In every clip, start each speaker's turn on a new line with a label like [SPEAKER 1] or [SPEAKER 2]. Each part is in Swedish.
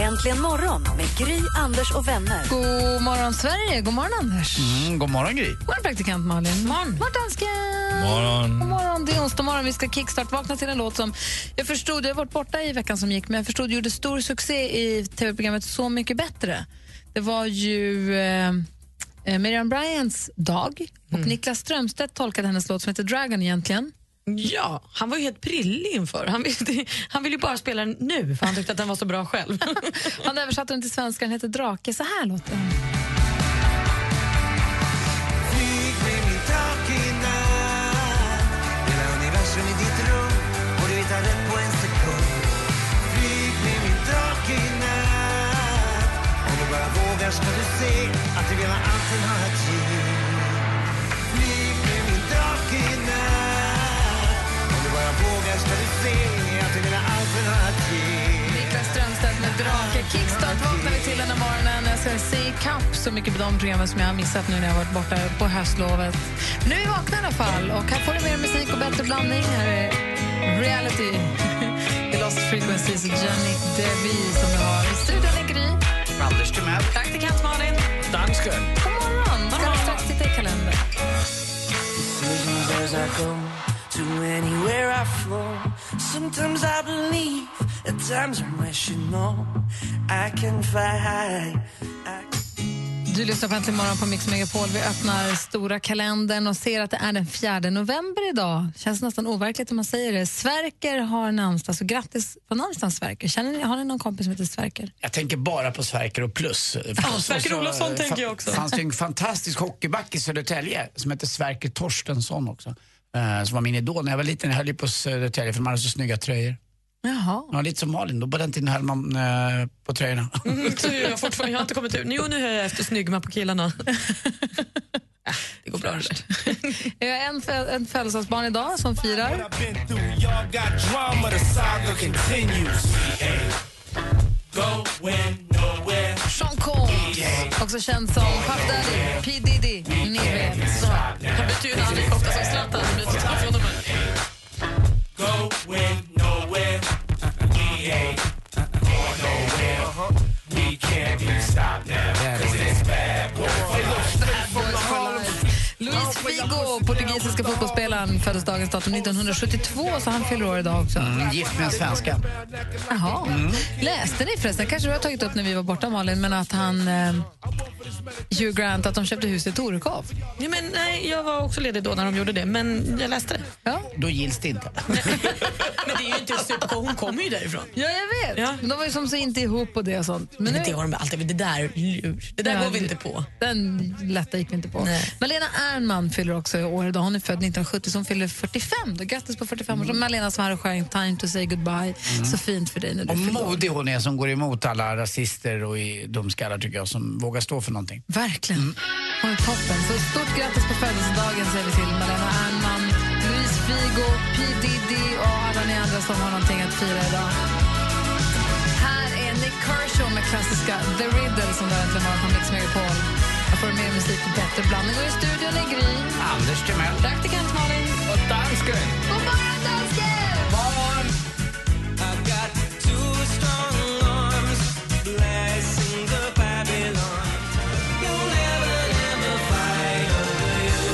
[SPEAKER 1] Äntligen morgon med Gry, Anders och vänner.
[SPEAKER 2] God morgon, Sverige. God morgon, Anders.
[SPEAKER 3] Mm, god morgon, Gry.
[SPEAKER 2] God morgon, praktikant Malin. Morgon. God morgon, dansken.
[SPEAKER 3] Morgon.
[SPEAKER 2] God morgon. Det är onsdag morgon. Vi ska kickstart-vakna till en låt som jag förstod, jag har varit borta i veckan som gick, men jag förstod gjorde stor succé i tv-programmet Så mycket bättre. Det var ju eh, eh, Miriam Bryans dag och
[SPEAKER 3] Mm.
[SPEAKER 2] Niklas Strömstedt tolkade hennes låt som heter Dragon egentligen.
[SPEAKER 4] Ja, han var ju helt prillig inför. Han ville, han ville ju bara spela den nu, för han tyckte att den var så bra själv.
[SPEAKER 2] Han översatte den till svenska, den heter Drake. Så här låter den.
[SPEAKER 5] Flyg med min drake i natt. Hela universum i ditt rum och du hittar rätt på en sekund. Flyg med min drake i natt. Om du bara vågar ska du se att du vill ha allt den har att ge. Flyg med min drake i natt. Om du bara vågar ska du se att du vill ha allt den har att ge.
[SPEAKER 2] Niklas Strömstedt med Drake. Kickstart vaknar vi till den här morgonen. Jag ska se ikapp så mycket på de programmen som jag har missat nu när jag har varit borta på höstlovet. Men nu är vi vakna i alla fall och här får du mer musik och bättre blandning. Här är reality. The Lost Frequencies och Jenny Devi som vi har i studion i Gry.
[SPEAKER 3] Anders Timell.
[SPEAKER 2] Praktikant Malin.
[SPEAKER 3] Dansken.
[SPEAKER 2] God morgon! Ska vi strax titta i kalendern.
[SPEAKER 5] decisions as I go to anywhere I flow. Sometimes I believe, at times I'm rational. I can fly high. I
[SPEAKER 2] Du lyssnar på Äntligen morgon på Mix Megapol. Vi öppnar stora kalendern och ser att det är den 4 november idag. Känns nästan overkligt om man säger det. Sverker har namnsdag, så grattis på namnsdagen Sverker. Känner ni, har ni någon kompis som heter Sverker?
[SPEAKER 3] Jag tänker bara på Sverker och plus. Alltså, Ja,
[SPEAKER 4] Sverker Olofsson tänker jag också.
[SPEAKER 3] fanns det en fantastisk hockeyback i Södertälje som hette Sverker Torstensson också. eh, Som var min idol när jag var liten. Jag höll ju på Södertälje för man hade så snygga tröjor.
[SPEAKER 2] Jaha.
[SPEAKER 3] Ja, lite som Malin, då på den tiden höll man eh, på tröjorna.
[SPEAKER 2] Mm.
[SPEAKER 4] Så jag, har fortfarande, jag har inte kommit ur. Jo, nu är jag efter snygma på killarna. Ja, Det går bra. det där.
[SPEAKER 2] Jag har en, fö- en födelsedagsbarn idag som firar.
[SPEAKER 6] I've been through. Y'all got drama, the saga continues. We ain't going nowhere.
[SPEAKER 2] Sean Combs, också känd som Puff Daddy, P Diddy, ni vet. Så.
[SPEAKER 4] Han byter ju namn lika ofta som Zlatan. Han byter telefonnummer.
[SPEAKER 6] Going nowhere. We ain't going nowhere. We can't be stopped now. Cause it's bad boy.
[SPEAKER 2] Luis Figo, portugisiska fotbollsspelaren, föddes dagens datum 1972, så han fyller år idag också.
[SPEAKER 3] Mm, gift med en svenska.
[SPEAKER 2] Jaha. Läste ni förresten, kanske du har tagit upp när vi var borta Malin, men att han, eh, Hugh Grant, att de köpte huset i Torekov?
[SPEAKER 4] Ja, men, nej, jag var också ledig då när de gjorde det, men jag läste det.
[SPEAKER 2] Ja.
[SPEAKER 3] Då gills det inte.
[SPEAKER 4] Men det är ju inte super, hon kommer ju därifrån.
[SPEAKER 2] ja, jag vet.
[SPEAKER 4] Ja.
[SPEAKER 2] Men de var ju som så inte ihop och det och sånt. Men
[SPEAKER 4] Men det har de alltid. Det där, lur. det där går vi inte på.
[SPEAKER 2] Den lätta gick vi inte på.
[SPEAKER 4] Nej.
[SPEAKER 2] Malena Ernman fyller också år idag. Hon är född 1970, så hon fyller 45. Då. Grattis på 45 år. Mm. Malena som här sjöng Time to say goodbye. Så fint för dig när du
[SPEAKER 3] Och
[SPEAKER 2] fyller år.
[SPEAKER 3] modig hon är som går emot alla rasister och i- dumskallar tycker jag som vågar stå för någonting.
[SPEAKER 2] Verkligen. Hon är toppen. Så stort grattis på födelsedagen säger vi till Malena Ernman, Luis Figo, P Diddy och alla ni andra som har någonting att fira idag. Här är Nick Kershaw med klassiska The Riddle som du äntligen har på Mix Megapol. Här får du mer musik och bättre blandning. Och i studion är Gry,
[SPEAKER 3] Anders Timell.
[SPEAKER 2] praktikant Malin.
[SPEAKER 3] Och dansken.
[SPEAKER 2] God morgon, dansken!
[SPEAKER 5] got two strong arms, blessing the Babylon. You'll never, never fight over you.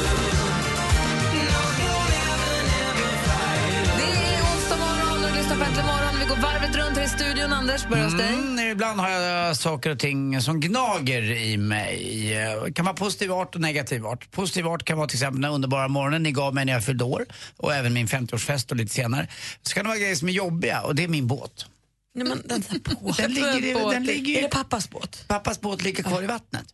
[SPEAKER 5] No, you'll never, never fight over
[SPEAKER 2] Det är onsdag morgon och du lyssnar på Äntligen morgon. Vi går varvet runt här i studion. Anders, börja hos dig.
[SPEAKER 3] Mm, ibland har jag saker och ting som gnager i mig. Eh, kan vara positiv art och negativ art. Positiv art kan vara till exempel den underbara morgonen ni gav mig när jag fyllde år och även min 50-årsfest och lite senare. Så kan det vara grejer som är jobbiga och det är min båt.
[SPEAKER 4] Nej, men den där båten.
[SPEAKER 3] Den ligger, i, den ligger
[SPEAKER 4] Är
[SPEAKER 3] i
[SPEAKER 4] det pappas båt?
[SPEAKER 3] pappas båt ligger kvar i vattnet.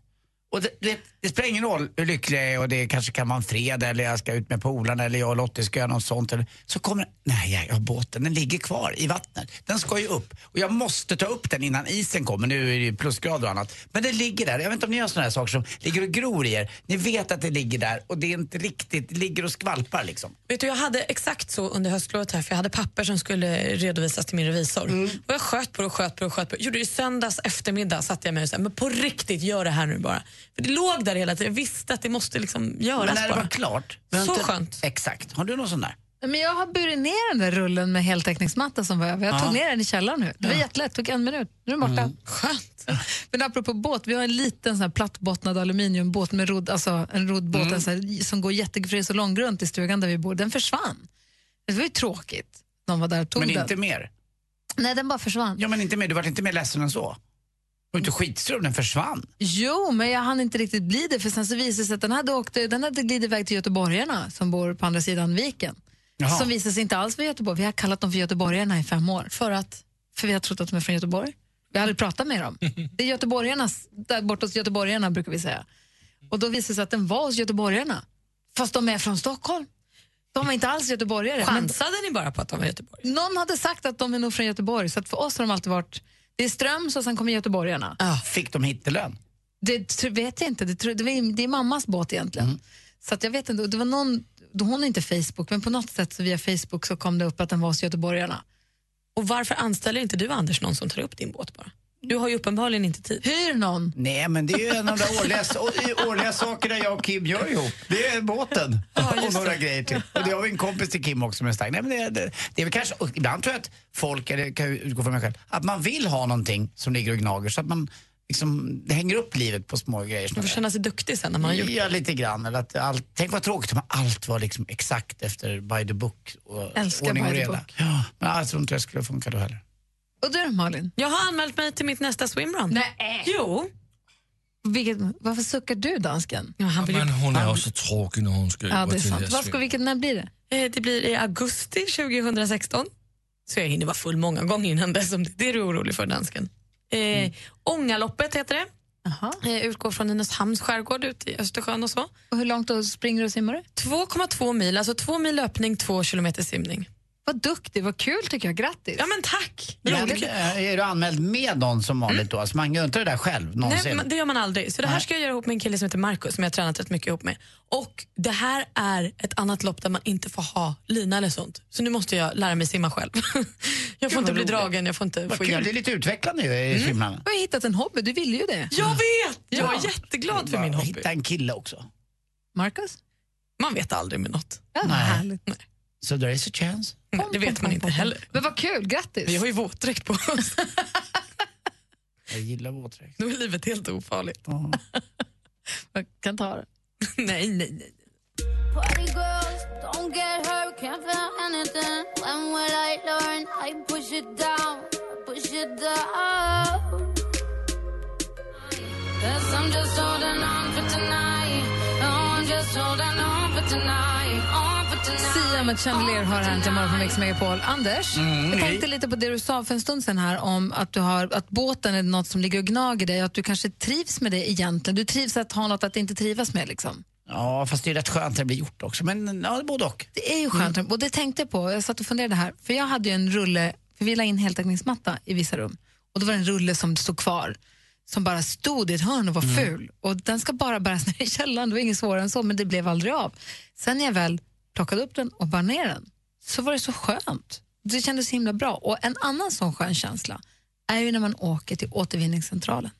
[SPEAKER 3] Och det, du vet, det spelar ingen roll hur lycklig jag är och det kanske kan vara en fredag eller jag ska ut med polarna eller jag och Lottie ska göra något sånt. Eller, så kommer nej jag har båten, den ligger kvar i vattnet. Den ska ju upp och jag måste ta upp den innan isen kommer. Nu är det ju plusgrader och annat. Men den ligger där. Jag vet inte om ni gör såna här saker som ligger och gror i er. Ni vet att det ligger där och det är inte riktigt, det ligger och skvalpar liksom.
[SPEAKER 4] Vet du, jag hade exakt så under höstlovet här, för jag hade papper som skulle redovisas till min revisor. Och jag sköt på det och sköt på det och sköt på det. Gjorde det i söndags eftermiddag satte jag mig och sa, men på riktigt, gör det här nu bara. För det låg där hela tiden, jag visste att det måste liksom
[SPEAKER 3] Men
[SPEAKER 4] göras
[SPEAKER 3] när det
[SPEAKER 4] bara.
[SPEAKER 3] var klart.
[SPEAKER 4] Så skönt.
[SPEAKER 3] Exakt. Har du någon sån där?
[SPEAKER 2] Men jag har burit ner den där rullen med heltäckningsmatta som var över. Jag tog
[SPEAKER 3] Ja. Mm.
[SPEAKER 2] ner den i källaren nu. Det var jättelätt, tog en minut. Nu är den borta. Skönt. Men apropå båt, vi har en liten sån här plattbottnad aluminiumbåt med rodd, alltså en roddbåt
[SPEAKER 3] Mm.
[SPEAKER 2] en sån här, som går jättegrej så långgrunt i stugan där vi bor. Den försvann. Det var ju tråkigt. De var där och tog
[SPEAKER 3] Men
[SPEAKER 2] den.
[SPEAKER 3] inte mer?
[SPEAKER 2] Nej, den bara försvann.
[SPEAKER 3] Ja men inte mer, du vart inte mer ledsen än så? Du var inte skitstrul om den försvann.
[SPEAKER 2] Jo, men jag hann inte riktigt bli det för sen så visade det sig att den hade, åkt, den hade glidit iväg till göteborgarna som bor på andra sidan viken.
[SPEAKER 3] Jaha.
[SPEAKER 2] Som visade sig inte alls vara Göteborg. Vi har kallat dem för göteborgarna i fem år. För att? För vi har trott att de är från Göteborg. Vi har aldrig pratat med dem. Det är göteborgarnas, där borta hos göteborgarna brukar vi säga. Och då visade det sig att den var hos göteborgarna. Fast de är från Stockholm. De är inte alls göteborgare. Men
[SPEAKER 4] Chansade ni bara på att de var i Göteborg?
[SPEAKER 2] någon hade sagt att de är nog från Göteborg så att för oss har de alltid varit, det är Ströms och sen kommer göteborgarna.
[SPEAKER 3] Ah, Fick de hittelön?
[SPEAKER 2] Det tr- vet jag inte. Det, tr- det, var, det är mammas båt egentligen. Så att jag vet inte. Och Det var någon, hon har inte Facebook, men på något sätt så via Facebook så kom det upp att den var hos göteborgarna.
[SPEAKER 4] Och varför anställer inte du Anders någon som tar upp din båt bara? Du har ju uppenbarligen inte tid.
[SPEAKER 2] Hyr någon?
[SPEAKER 3] Nej men det är ju en av de där årliga, å- årliga sakerna jag och Kim gör ihop. Det är båten och några grejer till. Och det har vi en kompis till Kim också som är stark. Nej, men det, det, det är väl kanske, och ibland tror jag att folk, eller kan jag utgå från mig själv, att man vill ha någonting som ligger och gnager så att man liksom hänger upp livet på små grejer.
[SPEAKER 4] Man får känna sig duktig sen när man har gjort
[SPEAKER 3] Ja, lite grann. Eller att allt, tänk vad tråkigt om allt var liksom exakt efter by the book. Och
[SPEAKER 2] Älskar
[SPEAKER 3] ordning och
[SPEAKER 2] by the
[SPEAKER 3] reda.
[SPEAKER 2] book.
[SPEAKER 3] Ja, men alltså, jag tror inte det skulle funka då heller.
[SPEAKER 2] Och du då Malin?
[SPEAKER 4] Jag har anmält mig till mitt nästa swimrun.
[SPEAKER 2] Nej.
[SPEAKER 4] Jo.
[SPEAKER 2] Vilket, varför suckar du dansken?
[SPEAKER 4] Ja, han vill ju...
[SPEAKER 7] Men hon är också tråkig när hon skriver
[SPEAKER 2] Ja, det är
[SPEAKER 7] till
[SPEAKER 2] sant.
[SPEAKER 7] det
[SPEAKER 2] Vad ska, vilket, när blir det?
[SPEAKER 4] Eh, Det blir i augusti 2016. Så jag hinner vara full många gånger innan dess om det, det är du orolig för dansken. Eh, Ångaloppet heter det.
[SPEAKER 2] Mm. Aha.
[SPEAKER 4] Eh, utgår från Nynäshamns skärgård ut i Östersjön och så.
[SPEAKER 2] Och hur långt då springer du och simmar du?
[SPEAKER 4] 2,2 mil, alltså 2 mil löpning, 2 kilometer simning.
[SPEAKER 2] Vad duktig, vad kul tycker jag. Grattis.
[SPEAKER 4] Ja men tack!
[SPEAKER 3] Men,
[SPEAKER 4] Roligt. Mm.
[SPEAKER 3] eh, är du anmäld med någon som vanligt då? Alltså man gör inte det där själv någonsin?
[SPEAKER 4] Nej, men det gör man aldrig. Så det här ska jag göra ihop med en kille som heter Marcus som jag har tränat rätt mycket ihop med. Och det här är ett annat lopp där man inte får ha lina eller sånt. Så nu måste jag lära mig simma själv. jag får inte bli
[SPEAKER 3] roligt.
[SPEAKER 4] dragen, jag får inte få
[SPEAKER 3] Vad kul, det är
[SPEAKER 4] hjälp.
[SPEAKER 3] lite utvecklande ju
[SPEAKER 4] Mm.
[SPEAKER 3] i simhallen.
[SPEAKER 2] Du har ju hittat en hobby, du ville ju det.
[SPEAKER 4] Jag vet!
[SPEAKER 2] Ja.
[SPEAKER 4] Jag är jätteglad för min hobby.
[SPEAKER 3] Hitta en kille också.
[SPEAKER 2] Marcus?
[SPEAKER 4] Man vet aldrig med något.
[SPEAKER 2] Ja, vad
[SPEAKER 3] Nej.
[SPEAKER 2] härligt.
[SPEAKER 3] So there is a chance.
[SPEAKER 4] Nej, Det vet man inte heller.
[SPEAKER 2] Men vad kul,
[SPEAKER 4] Vi
[SPEAKER 2] grattis.
[SPEAKER 4] har ju våtdräkt på oss.
[SPEAKER 3] Jag gillar våtdräkt.
[SPEAKER 4] Då är livet helt ofarligt.
[SPEAKER 2] Jag kan ta det.
[SPEAKER 4] Nej, nej, nej.
[SPEAKER 2] Sia med Chandelier har här till morgon på Mix Megapol. Anders, jag tänkte lite på det du sa för en stund sedan här om att, du har, att båten är något som ligger och gnager dig och att du kanske trivs med det egentligen. Du trivs att ha något att inte trivas med liksom.
[SPEAKER 3] Ja, fast det är rätt skönt när det blir gjort också. Men ja, både och.
[SPEAKER 2] Det är ju skönt. Och det tänkte jag på, jag satt och funderade här, för jag hade ju en rulle, för vi la in heltäckningsmatta i vissa rum och då var det en rulle som stod kvar som bara stod i ett hörn och var ful. Och den ska bara bäras ner i källaren, det var inget svårare än så, men det blev aldrig av. Sen när jag väl plockade upp den och bar ner den så var det så skönt. Det kändes så himla bra. Och en annan sån skön känsla är ju när man åker till återvinningscentralen.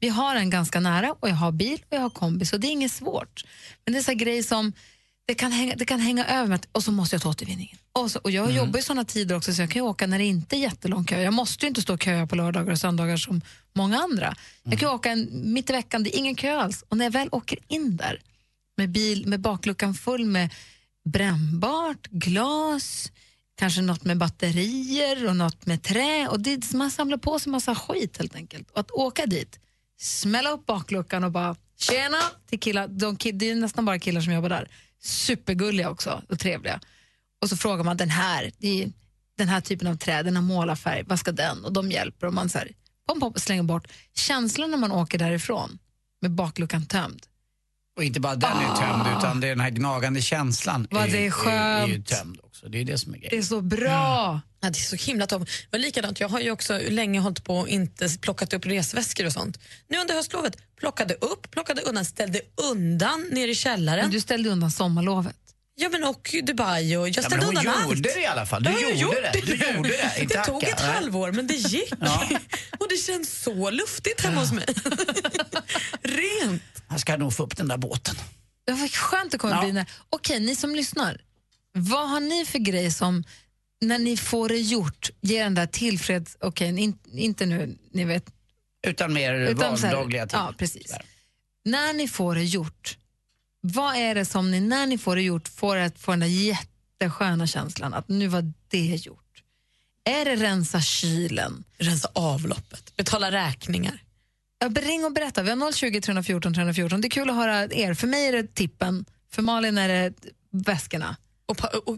[SPEAKER 2] Vi har en ganska nära och jag har bil och jag har kombi så det är inget svårt. Men det är så här grejer som det kan hänga, det kan hänga över mig att, och så måste jag ta återvinningen. Och, så, och jag jobbar i såna tider också så jag kan ju åka när det inte är jättelång kö. Jag måste ju inte stå och köa på lördagar och söndagar som många andra. Jag kan ju åka en, mitt i veckan, det är ingen kö alls. Och när jag väl åker in där med bil med bakluckan full med brännbart, glas, kanske något med batterier och något med trä. Och det, så man samlar på sig massa skit helt enkelt. Och att åka dit, smälla upp bakluckan och bara tjena till killar. De, ki- det är nästan bara killar som jobbar där. Supergulliga också och trevliga. Och så frågar man den här, det är den här typen av trä, den här målarfärg, vad ska den? Och de hjälper och man så här, pom, pom, slänger bort. Känslan när man åker därifrån, med bakluckan tömd.
[SPEAKER 3] Och inte bara den är
[SPEAKER 4] Ah.
[SPEAKER 3] tömd utan det är den här gnagande känslan.
[SPEAKER 2] Vad det är
[SPEAKER 3] Är, är ju
[SPEAKER 2] skönt.
[SPEAKER 3] tömd också. Det är det som är grejen.
[SPEAKER 2] Det är så bra.
[SPEAKER 4] Ja, det är så himla tomt. Det var likadant, jag har ju också länge hållit på och inte plockat upp resväskor och sånt. Nu under höstlovet plockade upp, plockade undan, ställde undan ner i källaren.
[SPEAKER 2] Men du ställde undan sommarlovet.
[SPEAKER 4] Ja men och Dubai och jag
[SPEAKER 3] Ja, men
[SPEAKER 4] ställde
[SPEAKER 3] hon
[SPEAKER 4] undan allt.
[SPEAKER 3] gjorde det i alla fall. Du
[SPEAKER 4] Ja, jag
[SPEAKER 3] gjorde
[SPEAKER 4] gjorde
[SPEAKER 3] det. Du gjorde det. Inte
[SPEAKER 4] Det tog
[SPEAKER 3] hacka.
[SPEAKER 4] ett
[SPEAKER 3] Nej.
[SPEAKER 4] halvår men det gick.
[SPEAKER 3] Ja.
[SPEAKER 4] Och det känns så luftigt hemma hos mig. Rent.
[SPEAKER 3] Han ska nog få upp den där båten.
[SPEAKER 2] Det var skönt att komma
[SPEAKER 3] Ja.
[SPEAKER 2] bli när... Okej, ni som lyssnar. Vad har ni för grej som, när ni får det gjort, ger den där tillfreds... Okej, in, inte nu, ni vet.
[SPEAKER 3] Utan mer
[SPEAKER 2] så här-
[SPEAKER 3] vardagliga ting.
[SPEAKER 2] Ja, precis.
[SPEAKER 3] Där.
[SPEAKER 2] När ni får det gjort, vad är det som ni, när ni får det gjort, får att få den där jättesköna känslan att nu var det gjort? Är det rensa kylen?
[SPEAKER 4] Rensa avloppet, betala räkningar.
[SPEAKER 2] Ja, Ring och berätta. Vi har 020 314 314. Det är kul att höra er. För mig är det tippen, för Malin är det väskorna.
[SPEAKER 4] Och, pa- och, och,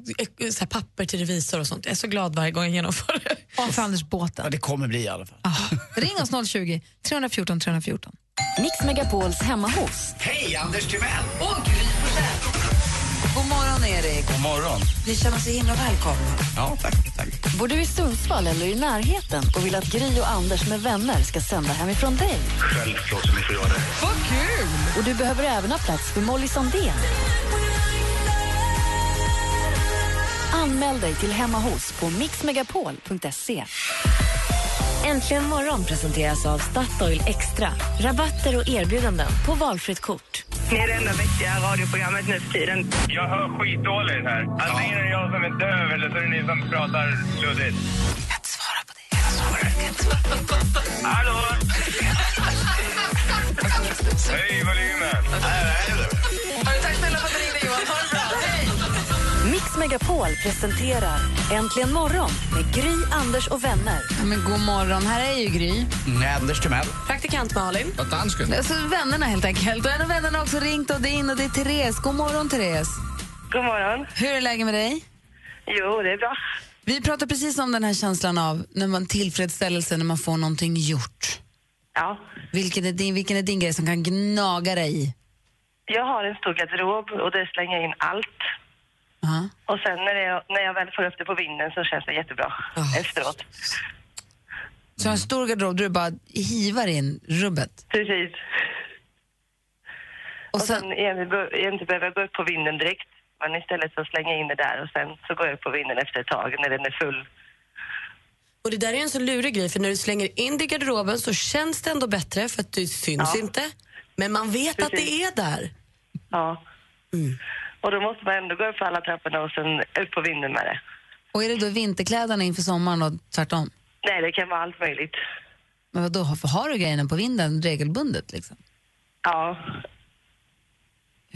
[SPEAKER 4] så här, papper till revisor och sånt. Jag är så glad varje gång jag genomför det.
[SPEAKER 2] Och för Anders båten.
[SPEAKER 3] Ja, det kommer bli i alla fall.
[SPEAKER 2] Ah, Ring oss 020 314 314.
[SPEAKER 1] Mix Megapols hemma hos.
[SPEAKER 3] Hej, Anders Timell!
[SPEAKER 8] God morgon, Erik.
[SPEAKER 3] God morgon.
[SPEAKER 8] Ni känner så himla välkomna.
[SPEAKER 3] Ja, tack. tack.
[SPEAKER 1] Bor du i Sundsvall eller i närheten och vill att Gry och Anders med vänner ska sända hemifrån dig?
[SPEAKER 6] Självklart som ni får göra det.
[SPEAKER 8] Vad kul!
[SPEAKER 1] Och du behöver även ha plats för Molly Sandén. Anmäl dig till Hemma hos på mixmegapol.se. Äntligen morgon presenteras av Statoil Extra. Rabatter och erbjudanden på valfritt kort.
[SPEAKER 9] Ni är det enda vettiga radioprogrammet nu för tiden.
[SPEAKER 6] Jag hör skitdåligt här. Antingen är det jag som är döv eller så är det ni som pratar luddigt. Hallå! Höj volymen!
[SPEAKER 8] Tack snälla för att du ringde, Johan. Ha det bra. Hej!
[SPEAKER 1] Mix Megapol presenterar Äntligen morgon med Gry, Anders och vänner.
[SPEAKER 2] Ja, men god morgon, här är ju Gry.
[SPEAKER 3] Mm, Anders Timell.
[SPEAKER 4] Praktikant Malin.
[SPEAKER 7] Och dansken.
[SPEAKER 2] Alltså, vännerna helt enkelt. Och en av vännerna har också ringt och det är in och det är Therese. God morgon Therese.
[SPEAKER 9] God morgon.
[SPEAKER 2] Hur är läget med dig?
[SPEAKER 9] Jo, det är bra.
[SPEAKER 2] Vi pratade precis om den här känslan av när man tillfredsställelse när man får någonting gjort.
[SPEAKER 9] Ja.
[SPEAKER 2] Vilken är din, vilken är din grej som kan gnaga dig i?
[SPEAKER 9] Jag har en stor garderob och där slänger jag in allt.
[SPEAKER 2] Ja.
[SPEAKER 9] Och sen när jag, när jag väl får upp det på vinden så känns det jättebra
[SPEAKER 2] Ah.
[SPEAKER 9] efteråt.
[SPEAKER 2] Så en stor garderob där du bara hivar in rubbet.
[SPEAKER 9] Precis.
[SPEAKER 2] Och
[SPEAKER 9] Och sen
[SPEAKER 2] sen,
[SPEAKER 9] jag be- jag inte behöver gå upp på vinden direkt. Men istället så slänger jag in det där och sen så går jag upp på vinden efter ett tag när den är full.
[SPEAKER 4] Och det där är en så lurig grej för när du slänger in det i garderoben så känns det ändå bättre för att det syns
[SPEAKER 9] Ja.
[SPEAKER 4] inte. Men man vet att det är där.
[SPEAKER 9] Ja. Och då måste man ändå gå upp för alla trapporna och sen upp på vinden med det.
[SPEAKER 2] och är det då vinterkläderna inför sommaren och tvärtom?
[SPEAKER 9] Nej, det kan vara allt möjligt.
[SPEAKER 2] Men vadå, har, har du grejerna på vinden regelbundet liksom?
[SPEAKER 9] Ja.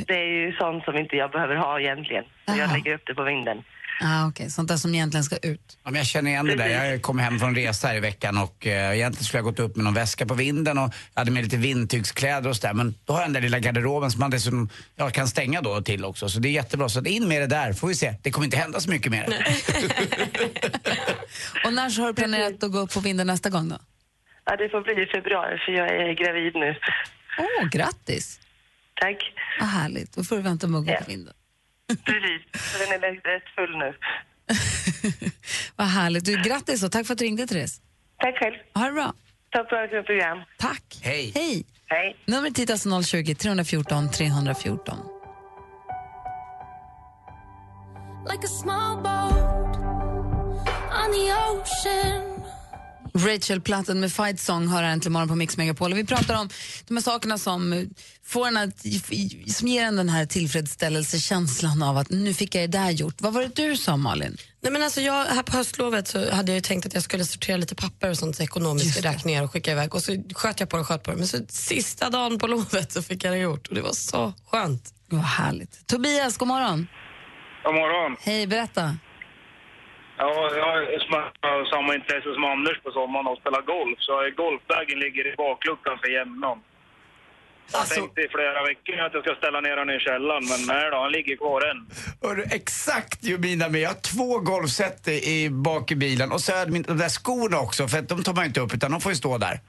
[SPEAKER 9] Det är ju sånt som inte jag behöver ha egentligen. Så jag
[SPEAKER 2] Aha.
[SPEAKER 9] lägger upp det på vinden.
[SPEAKER 2] Ah, okej. Sånt där som egentligen ska ut.
[SPEAKER 3] Ja, men jag känner igen det där. Jag kom hem från resa här i veckan och eh, egentligen skulle jag gått upp med någon väska på vinden och jag hade med lite vindtygskläder och sådär. Men då har jag den där lilla garderoben som man dessutom ja, kan stänga då till också. Så det är jättebra. Så in med det där, får vi se. Det kommer inte hända så mycket mer.
[SPEAKER 2] Och när så har du planerat att gå upp på vinden nästa gång då?
[SPEAKER 9] Ja, det får bli i februari för jag är gravid nu.
[SPEAKER 2] Åh, grattis!
[SPEAKER 9] Tack.
[SPEAKER 2] Vad härligt. Då får du vänta med att gå
[SPEAKER 9] Ja.
[SPEAKER 2] på vinden.
[SPEAKER 9] Precis. Så den är rätt full nu.
[SPEAKER 2] Vad härligt. Du, grattis och tack för att du ringde, Therese.
[SPEAKER 9] Tack själv.
[SPEAKER 2] Ha det bra.
[SPEAKER 9] Tack för ett program.
[SPEAKER 2] Tack.
[SPEAKER 3] Hej.
[SPEAKER 2] Hej.
[SPEAKER 9] Hej.
[SPEAKER 2] Numret hit är alltså 020 314 314. Rachel Platten med Fight Song hör här äntligen morgon på Mix Megapol. Och vi pratar om de här sakerna som, eh, får en att, som ger en den här tillfredsställelsekänslan av att nu fick jag det där gjort. Vad var det du sa, Malin?
[SPEAKER 4] Nej, men alltså jag, här på höstlovet så hade jag ju tänkt att jag skulle sortera lite papper och sånt, så ekonomiska räkningar och skicka iväg. Och så sköt jag på det och sköt på det. Men så sista dagen på lovet så fick jag det gjort och det var så skönt.
[SPEAKER 2] Vad härligt. Tobias, god morgon.
[SPEAKER 6] God morgon.
[SPEAKER 2] Hej, berätta.
[SPEAKER 6] Ja, jag är sm- har samma intresse som Anders på sommaren och spelar golf. Så golfbagen ligger i bakluckan för jämnan. Jag tänkte i flera veckor att jag ska ställa ner den i källaren, men nej då, han ligger kvar än.
[SPEAKER 3] Hörru, exakt ju mina med. Jag har två golfset i- i bak i bilen och så är min, de där skorna också för att de tar man ju inte upp utan de får ju stå där.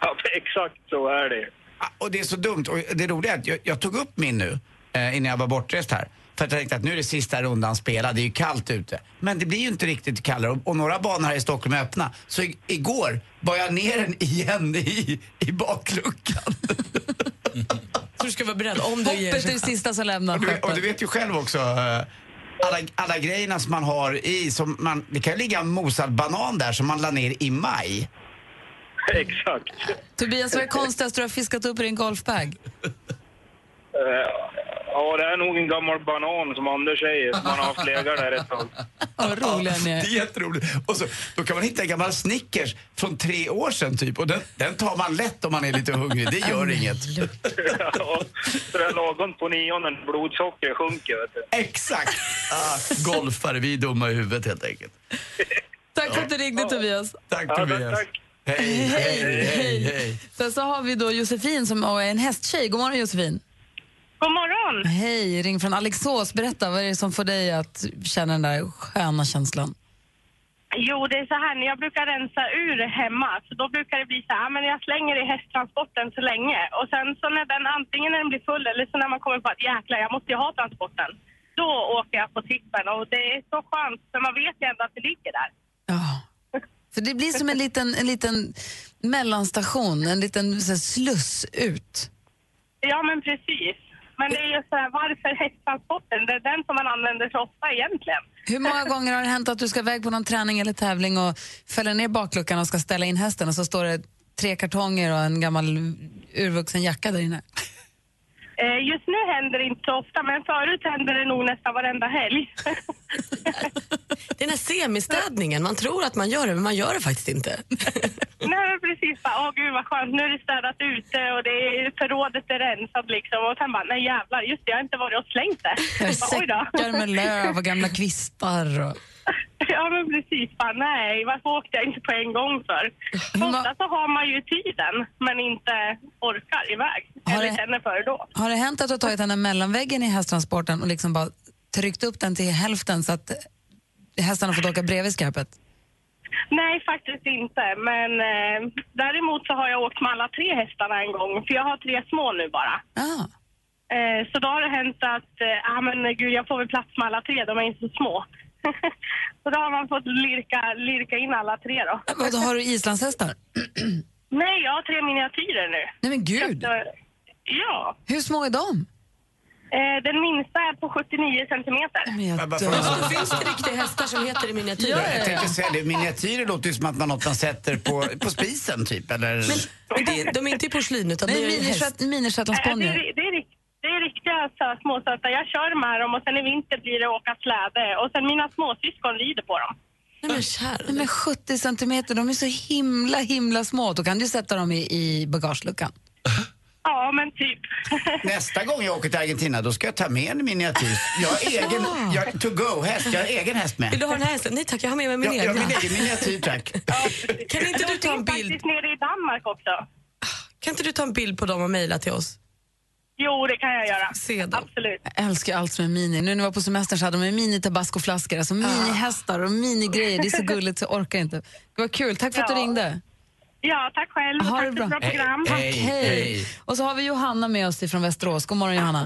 [SPEAKER 6] Ja, exakt så är det.
[SPEAKER 3] Ah, Och det är så dumt. Och det roliga är att jag, jag tog upp min nu eh, innan jag var bortrest här. För att jag tänkte att nu är det sista rundan spelad, det är ju kallt ute. Men det blir ju inte riktigt kallare och, och några banor här i Stockholm är öppna. Så i, igår bar jag ner den igen i, i bakluckan.
[SPEAKER 10] Så du ska vara beredd om du ger
[SPEAKER 4] Hoppet är det sista som lämnar
[SPEAKER 3] Och du, och
[SPEAKER 4] skeppet.
[SPEAKER 3] du vet ju själv också, eh, alla, alla grejerna som man har i, som man, det kan ju ligga en mosad banan där som man la ner i maj.
[SPEAKER 11] Exakt.
[SPEAKER 4] Tobias, vad är konstigast du har fiskat upp i din golfbag?
[SPEAKER 11] Eh, Ja, det är nog en gammal banan som Anders säger, som man har haft legat där ett tag.
[SPEAKER 4] Vad roliga ni
[SPEAKER 3] Det är jätteroligt. Och så, då kan man hitta en gammal Snickers från tre år sedan typ och den, den tar man lätt om man är lite hungrig, det gör inget.
[SPEAKER 11] Ja, Så det är lagom på nionen, blodsockret sjunker vet du.
[SPEAKER 3] Exakt! Ah, golfare, vi är dumma i huvudet helt enkelt.
[SPEAKER 4] Tack för att du ringde, Tobias.
[SPEAKER 3] Tack Tobias. Hej, hej, hej, hej.
[SPEAKER 4] Sen så har vi då Josefin som är en hästtjej. God morgon, Josefin.
[SPEAKER 9] God morgon.
[SPEAKER 4] Hej, ring från Alexås. Berätta, vad är det som får dig att känna den där sköna känslan?
[SPEAKER 9] Jo, det är så här, när jag brukar rensa ur hemma, så då brukar det bli så här, "Ah, men jag slänger i hästtransporten så länge. Och sen så när den, antingen när den blir full eller så när man kommer på att jäklar, jag måste ju ha transporten. Då åker jag på tippen och det är så skönt, för man vet ju ändå att det ligger där.
[SPEAKER 4] För det blir som en liten, en liten mellanstation, en liten så här, sluss ut.
[SPEAKER 9] Ja, men precis. Men det är ju så här, varför hästtransporten? Det är den som man använder så ofta egentligen.
[SPEAKER 4] Hur många gånger har det hänt att du ska iväg på någon träning eller tävling och fäller ner bakluckan och ska ställa in hästen och så står det tre kartonger och en gammal urvuxen jacka där inne?
[SPEAKER 9] Eh, Just nu händer det inte så ofta, men förut hände det nog nästan varenda helg.
[SPEAKER 10] Det är den här semistädningen. Man tror att man gör det, men man gör det faktiskt inte.
[SPEAKER 9] Nej men precis, bara, åh gud vad skönt, nu är det städat ute och det är, förrådet är rensat liksom. Och sen bara, nej jävlar, just det, jag har inte varit och slängt det.
[SPEAKER 4] Där är
[SPEAKER 9] Bara, "Oj då."
[SPEAKER 4] säckar med löv och gamla kvistar. Och...
[SPEAKER 9] Ja men precis, bara, nej varför åkte jag inte på en gång för? Ofta så har man ju tiden, men inte orkar iväg. Eller känner för det då.
[SPEAKER 4] Har det hänt att du har tagit den här mellanväggen i hästtransporten och liksom bara tryckt upp den till hälften så att hästarna får åka bredvid skräpet?
[SPEAKER 9] Nej faktiskt inte, men eh, däremot så har jag åkt med alla tre hästarna en gång, för jag har tre små nu bara.
[SPEAKER 4] Ah.
[SPEAKER 9] Eh, så då har det hänt att, eh, ah, men gud jag får väl plats med alla tre, de är inte så små. så då har man fått lirka, lirka in alla tre då.
[SPEAKER 4] Vad har du islandshästar?
[SPEAKER 9] Nej, jag har tre miniatyrer nu.
[SPEAKER 4] Nej men gud!
[SPEAKER 9] Så, ja.
[SPEAKER 4] Hur små är de?
[SPEAKER 9] Eh, den minsta är på 79 centimeter.
[SPEAKER 4] Men
[SPEAKER 3] varför- dör.
[SPEAKER 10] Finns det riktiga hästar som heter det miniatyrer?
[SPEAKER 3] Jag tänkte säga det, miniatyrer låter ju som att man något man sätter på, på spisen typ eller...
[SPEAKER 10] Men det, de är inte i porslin utan
[SPEAKER 4] Nej,
[SPEAKER 10] det är
[SPEAKER 4] minishet-
[SPEAKER 10] häst.
[SPEAKER 9] Eh, det, är- det, är rikt- det är riktiga så, småsöta. Jag kör med dem och sen i vinter blir det åka släde. Och sen mina småsyskon rider på dem.
[SPEAKER 4] Nej,
[SPEAKER 10] Ah,
[SPEAKER 4] men, Nej, men 70 centimeter, de är så himla himla små. Då kan du sätta dem i, i bagageluckan.
[SPEAKER 9] Ja, men typ.
[SPEAKER 3] Nästa gång jag åker till Argentina då ska jag ta med en miniatyr. Jag har egen,
[SPEAKER 10] Ja.
[SPEAKER 3] jag, to go-häst, jag har egen häst med.
[SPEAKER 10] Vill du ha den här hästen? Nej tack, jag har med mig min
[SPEAKER 3] Ja, jag har
[SPEAKER 10] egna.
[SPEAKER 3] min egen miniatyr tack.
[SPEAKER 10] Kan inte du ta en bild?
[SPEAKER 9] nere i Danmark också.
[SPEAKER 10] Kan inte du ta en bild på dem och mejla till oss?
[SPEAKER 9] Jo, det kan jag göra. Absolut.
[SPEAKER 4] Jag älskar allt som är mini. Nu när vi var på semestern så hade de ju mini-tabascoflaskor, alltså mini-hästar och mini-grejer. Det är så gulligt så jag orkar inte. Det var kul, tack för att du
[SPEAKER 9] Ja.
[SPEAKER 4] ringde.
[SPEAKER 9] Ja, tack själv.
[SPEAKER 4] Ha
[SPEAKER 9] tack
[SPEAKER 4] det
[SPEAKER 9] för
[SPEAKER 4] bra.
[SPEAKER 9] ett bra program.
[SPEAKER 4] Tack, hej. Och så har vi Johanna med oss ifrån Västerås. God morgon Johanna.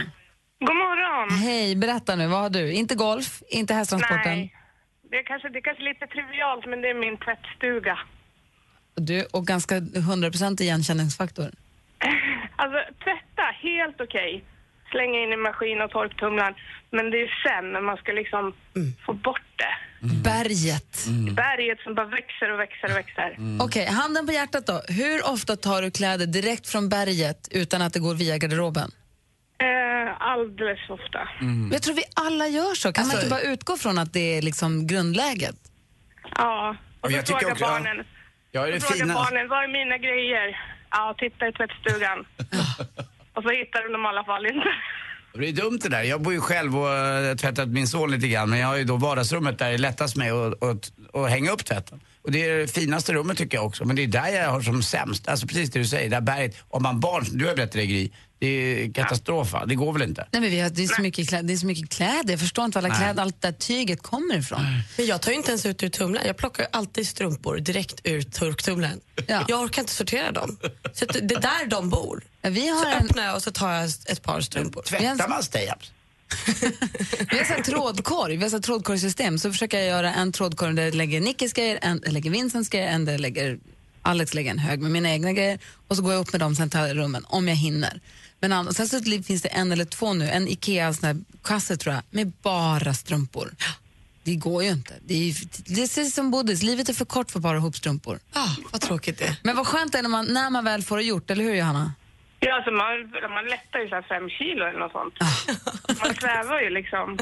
[SPEAKER 2] God morgon.
[SPEAKER 4] Hej, berätta nu, vad har du? Inte golf, inte hästtransporten.
[SPEAKER 2] Nej, det är, kanske, det är kanske lite trivialt, men det är min tvättstuga.
[SPEAKER 4] Du, och ganska 100% igenkänningsfaktor.
[SPEAKER 2] Alltså, tvätta, helt okej. Slänga in i maskin och torktumlaren. Men det är sen när man ska liksom få bort det.
[SPEAKER 4] Berget.
[SPEAKER 2] Berget som bara växer och växer och växer.
[SPEAKER 4] Okej, handen på hjärtat då. Hur ofta tar du kläder direkt från berget utan att det går via garderoben?
[SPEAKER 2] Eh, alldeles för ofta.
[SPEAKER 4] Jag tror vi alla gör så. Kan man
[SPEAKER 2] Alltså-
[SPEAKER 4] inte bara utgå från att det är liksom grundläget?
[SPEAKER 2] Ja, och
[SPEAKER 4] Ja,
[SPEAKER 2] så
[SPEAKER 4] jag tycker
[SPEAKER 2] frågar
[SPEAKER 4] också-
[SPEAKER 2] barnen.
[SPEAKER 3] Ja, det är
[SPEAKER 2] så frågar
[SPEAKER 3] fina.
[SPEAKER 2] barnen, vad är mina grejer? Ja, titta i tvättstugan. och så hittar de dem i alla fall inte.
[SPEAKER 3] Det är dumt det där. Jag bor ju själv och eh, tvättat min son lite grann men jag har ju då vardagsrummet där det är lättast med att- att att hänga upp tvätten. Och det är det finaste rummet tycker jag också. Men det är där jag har som sämst. Alltså precis det du säger, det där berget. Om man barn, du har berättat det Gry, det är katastrof va? Det går väl inte?
[SPEAKER 2] Nej, men vi har, det, är så mycket kläder, det är så mycket kläder. Jag förstår inte var alla
[SPEAKER 3] Nej.
[SPEAKER 2] kläder, allt det där tyget kommer ifrån.
[SPEAKER 4] Men jag tar ju inte ens ut ur tumlaren. Jag plockar ju alltid strumpor direkt ur turktumlaren. Jag orkar inte sortera dem. Så att det det är där de bor.
[SPEAKER 2] vi
[SPEAKER 4] så öppnar jag och så tar jag ett par strumpor.
[SPEAKER 3] Tvättar man stay-ups?
[SPEAKER 2] Vi har så här trådkorg, vi har så här trådkorgsystem. Så försöker jag göra en trådkorg där jag lägger Nickes grejer, en där jag lägger Vincents grejer, en där jag lägger Alex lägger en hög med mina egna grejer och så går jag upp med dem sen tar jag rummen om jag hinner. Men annars, sen så finns det en eller två nu, en Ikea sån här kasse tror jag, med bara strumpor. Det går ju inte. Det är, ju- det är precis som Bodis, livet är för kort för bara ihop strumpor.
[SPEAKER 4] Ah, vad tråkigt det är.
[SPEAKER 2] Men vad skönt det är när man, när man väl får det gjort, eller hur Johanna?
[SPEAKER 12] Ja, alltså man, man lättar ju så här fem kilo eller något sånt.
[SPEAKER 4] Ah.
[SPEAKER 12] Man kvävar ju liksom.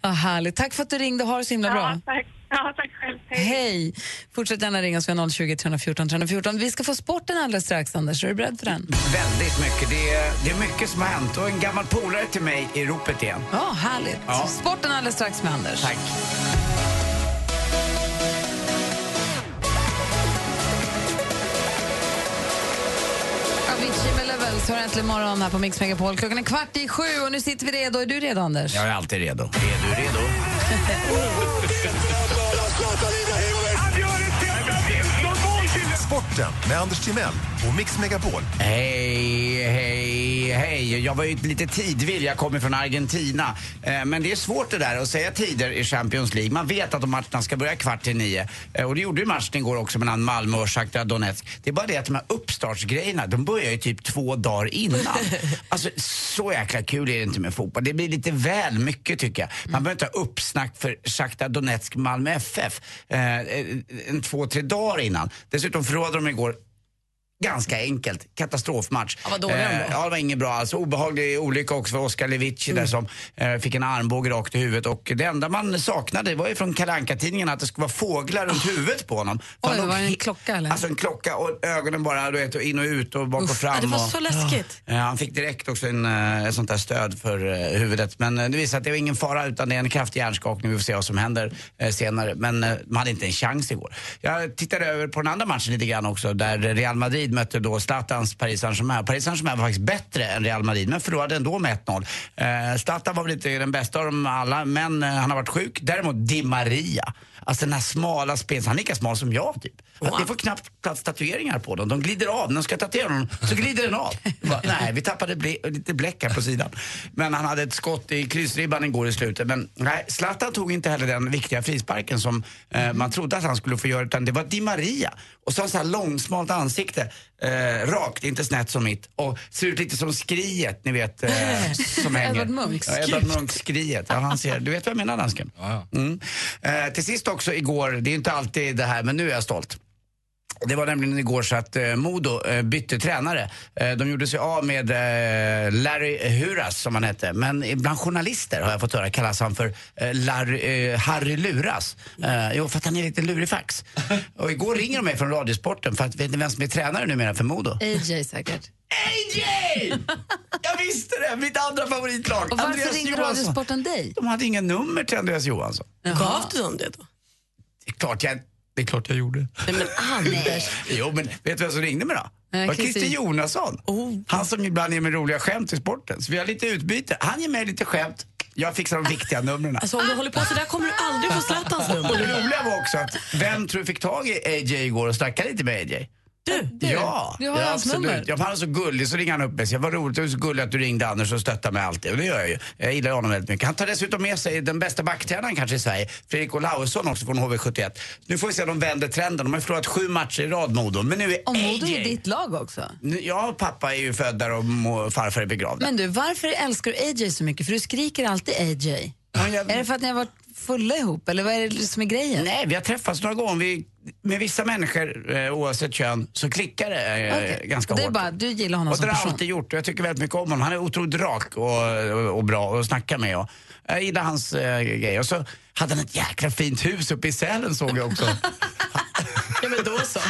[SPEAKER 2] Ah, härligt. Tack för att du ringde, ha det så himla bra.
[SPEAKER 12] Tack. Ja, tack själv.
[SPEAKER 2] Hej. Fortsätt gärna ringa oss vid 020 314 314. Vi ska få sporten alldeles strax, Anders. Är du beredd för den?
[SPEAKER 3] Väldigt mycket. Det är, det är mycket som har hänt. Och en gammal polare till mig i ropet igen.
[SPEAKER 2] Ja, härligt.
[SPEAKER 3] Ja.
[SPEAKER 2] Sporten alldeles strax med Anders.
[SPEAKER 3] Tack.
[SPEAKER 2] Avicii med Levels har äntligen morgon här på Mix Megapol. Klockan är kvart i sju och nu sitter vi redo. Är du redo, Anders?
[SPEAKER 3] Jag är alltid redo. Är du redo?
[SPEAKER 13] Sporten med Anders Timell och Mix Megapol.
[SPEAKER 3] Hej, hej, hej. Jag var ju lite tidvill. Jag kommer från Argentina. Eh, Men det är svårt det där att säga tider i Champions League. Man vet att de matcherna ska börja kvart i nio. Eh, Och det gjorde ju matchen igår också mellan Malmö och Shakhtar Donetsk. Det är bara det att de här uppstartsgrejerna, de börjar ju typ två dagar innan. Alltså, så jäkla kul är det inte med fotboll. Det blir lite väl mycket tycker jag. Man behöver inte ha uppsnack för Shakhtar Donetsk Malmö FF eh, en två, tre dagar innan. Dessutom förrådde de igår Ganska enkelt. Katastrofmatch. Ja,
[SPEAKER 4] vad dåliga de var.
[SPEAKER 3] Ja, det var inget bra alls. Obehaglig olycka också för Oskar Levitsch
[SPEAKER 2] Mm.
[SPEAKER 3] där som eh, fick en armbåge rakt i huvudet. Och det enda man saknade var ju från Kalle tidningen att det skulle vara fåglar runt huvudet på honom. För
[SPEAKER 2] Ah. Oj,
[SPEAKER 3] han låg
[SPEAKER 2] var det en
[SPEAKER 3] he-
[SPEAKER 2] klocka eller?
[SPEAKER 3] Alltså en klocka och ögonen bara du vet, och in och ut och bak och
[SPEAKER 2] Uff,
[SPEAKER 3] fram.
[SPEAKER 2] ja, det var
[SPEAKER 3] och,
[SPEAKER 2] så läskigt.
[SPEAKER 3] Ja, han fick direkt också en, eh, ett sånt där stöd för eh, huvudet. Men eh, det visade att det var ingen fara utan det är en kraftig hjärnskakning. Vi får se vad som händer eh, senare. Men eh, man hade inte en chans igår. Jag tittade över på den andra matchen lite grann också där Real Madrid mötte då Zlatans Paris Saint-Germain. Paris Saint-Germain var faktiskt bättre än Real Madrid men förlorade ändå med 1-0. Eh, Zlatan var väl inte den bästa av dem alla men eh, han har varit sjuk. Däremot Di Maria. Alltså den här smala spelaren, han är lika smal som jag typ. Att det får knappt plats tatueringar på dem. De glider av, när de ska tatuera dem så glider den av. Bara, nej, vi tappade ble- lite bläck här på sidan. Men han hade ett skott i kryssribban igår i slutet. Men nej, Zlatan tog inte heller den viktiga frisparken som eh, man trodde att han skulle få göra utan det var Di Maria. Och så har han så här långsmalt ansikte, eh, rakt, inte snett som mitt. Och ser ut lite som skriet, ni vet, eh, som hänger.
[SPEAKER 2] Edvard Munchs
[SPEAKER 3] Ja, Edvard
[SPEAKER 2] skriet.
[SPEAKER 3] Munkskriet. Ja, han ser, du vet vad jag menar dansken? Mm. Eh, till sist också igår, det är ju inte alltid det här men nu är jag stolt. Det var nämligen igår så att eh, Modo eh, bytte tränare. Eh, de gjorde sig av med eh, Larry Huras som han hette. Men bland journalister har jag fått höra kallas han för eh, Larry, eh, Harry Luras. Eh, jo, för att han är lite lurifax. Och igår ringer de mig från Radiosporten för att vet ni vem som är tränare numera för Modo?
[SPEAKER 2] AJ säkert.
[SPEAKER 3] AJ! Jag visste det! Mitt andra favoritlag.
[SPEAKER 2] Och varför
[SPEAKER 3] Andreas
[SPEAKER 2] ringde
[SPEAKER 3] Johansson.
[SPEAKER 2] Radiosporten dig?
[SPEAKER 3] De hade inga nummer till Andreas Johansson.
[SPEAKER 4] Gav du dem det då?
[SPEAKER 3] Det är klart jag, det är klart jag gjorde.
[SPEAKER 4] Nej, men
[SPEAKER 2] Ah,
[SPEAKER 4] Anders.
[SPEAKER 3] Jo, men vet du vem som ringde mig då?
[SPEAKER 4] Nej,
[SPEAKER 3] Det var
[SPEAKER 4] Christer. Oh.
[SPEAKER 3] Christer Jonasson. Han som ibland ger mig roliga skämt i sporten. Så vi har lite utbyte. Han ger mig lite skämt. Jag fixar de viktiga numren.
[SPEAKER 4] Alltså om du håller på så där kommer du aldrig få Zlatans
[SPEAKER 3] Och det
[SPEAKER 4] nummer.
[SPEAKER 3] roliga var också att vem tror du fick tag i AJ igår och snackade lite med AJ?
[SPEAKER 2] Du?
[SPEAKER 3] Ja,
[SPEAKER 2] Du har
[SPEAKER 3] ja,
[SPEAKER 2] hans nummer.
[SPEAKER 3] Ja, för han är så gullig så ringer han upp mig. Så jag var roligt, du är så gullig att du ringde Anders och stöttade mig alltid. Och det gör jag ju. Jag gillar honom väldigt mycket. Han tar dessutom med sig den bästa backtränaren kanske i Sverige, Fredrik Olausson också från HV71. Nu får vi se om de vänder trenden. De har ju förlorat sju matcher i rad, Modo. Men nu är
[SPEAKER 2] Och Modo är
[SPEAKER 3] AJ.
[SPEAKER 2] ditt lag också.
[SPEAKER 3] Nu- Jag och pappa är ju född där och mo- farfar är begravd.
[SPEAKER 2] Men du, varför älskar du AJ så mycket? För du skriker alltid AJ. Är det för att ni har varit fulla ihop eller vad är det som är grejen?
[SPEAKER 3] Nej, vi har träffats några gånger. Vi, med vissa människor, eh, oavsett kön, så klickar det eh,
[SPEAKER 2] Okej.
[SPEAKER 3] ganska
[SPEAKER 2] Och det är
[SPEAKER 3] hårt.
[SPEAKER 2] bara, du gillar honom
[SPEAKER 3] Och det
[SPEAKER 2] som
[SPEAKER 3] har jag
[SPEAKER 2] person.
[SPEAKER 3] alltid gjort och jag tycker väldigt mycket om honom. Han är otroligt rak och, och, och bra att snacka med. Och, jag gillar hans eh, grejer. Och så hade han ett jäkla fint hus uppe i Sälen såg jag också.
[SPEAKER 4] ja men då så.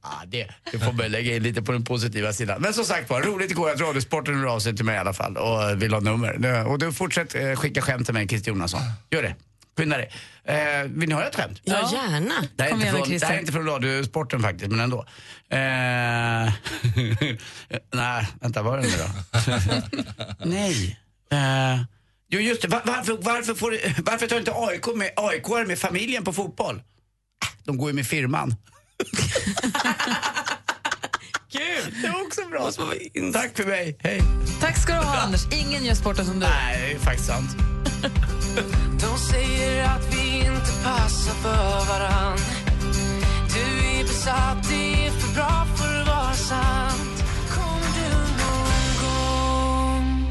[SPEAKER 3] Ah, det, det får man lägga in lite på den positiva sidan. Men som sagt var, roligt igår att Radiosporten hörde av sig till mig i alla fall och vill ha nummer. Nu- Och du fortsätt eh, skicka skämt till mig, Christer Jonasson. Gör det. Skynda dig. Eh, vill ni höra ett skämt?
[SPEAKER 14] Ja, gärna.
[SPEAKER 3] Det här, är
[SPEAKER 14] Kom
[SPEAKER 3] inte
[SPEAKER 14] igen nu,
[SPEAKER 3] från, det här är
[SPEAKER 14] Christian.
[SPEAKER 3] inte från radiosporten faktiskt, men ändå. Eh, nej, vänta, var är den nu då? nej. Eh, jo, just det. Va- Varför, varför, får, varför tar inte AIK med, AIK är med familjen på fotboll? Ah, De går ju med firman.
[SPEAKER 14] Kul!
[SPEAKER 3] Det var också bra. Tack för mig. Hej.
[SPEAKER 4] Tack ska du ha, Anders. Ingen gör sporten som du.
[SPEAKER 3] Nej, det är faktiskt sant.
[SPEAKER 9] De säger att vi inte passar för varann Du är besatt, det är för bra för att vara sant Kommer du någon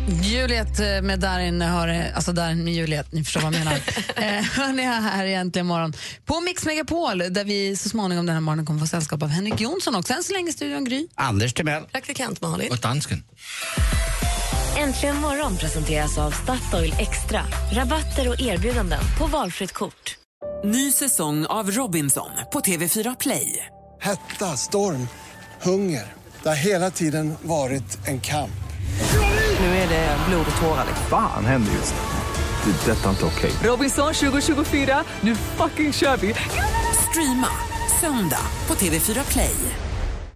[SPEAKER 9] gång
[SPEAKER 4] Juliet eh, med Darin, har, eh, alltså Darin med Juliet, ni förstår vad jag menar. eh, hörni, jag är här egentligen imorgon på Mix Megapol där vi så småningom den här morgonen kommer få sällskap av Henrik Jonsson också. Än så länge i studion Gry.
[SPEAKER 3] Anders Timell.
[SPEAKER 1] Praktikant Malin.
[SPEAKER 15] Och dansken.
[SPEAKER 1] Äntligen morgon presenteras av Statoil Extra. Rabatter och erbjudanden på valfritt kort.
[SPEAKER 16] Ny säsong av Robinson på TV4 Play.
[SPEAKER 17] Hetta, storm, hunger. Det har hela tiden varit en kamp.
[SPEAKER 16] Nu är det blod och tårar. liksom.
[SPEAKER 6] Fan händer just det. Det är detta inte okej.
[SPEAKER 16] Robinson 2024, nu fucking kör vi! Streama söndag på TV4 Play.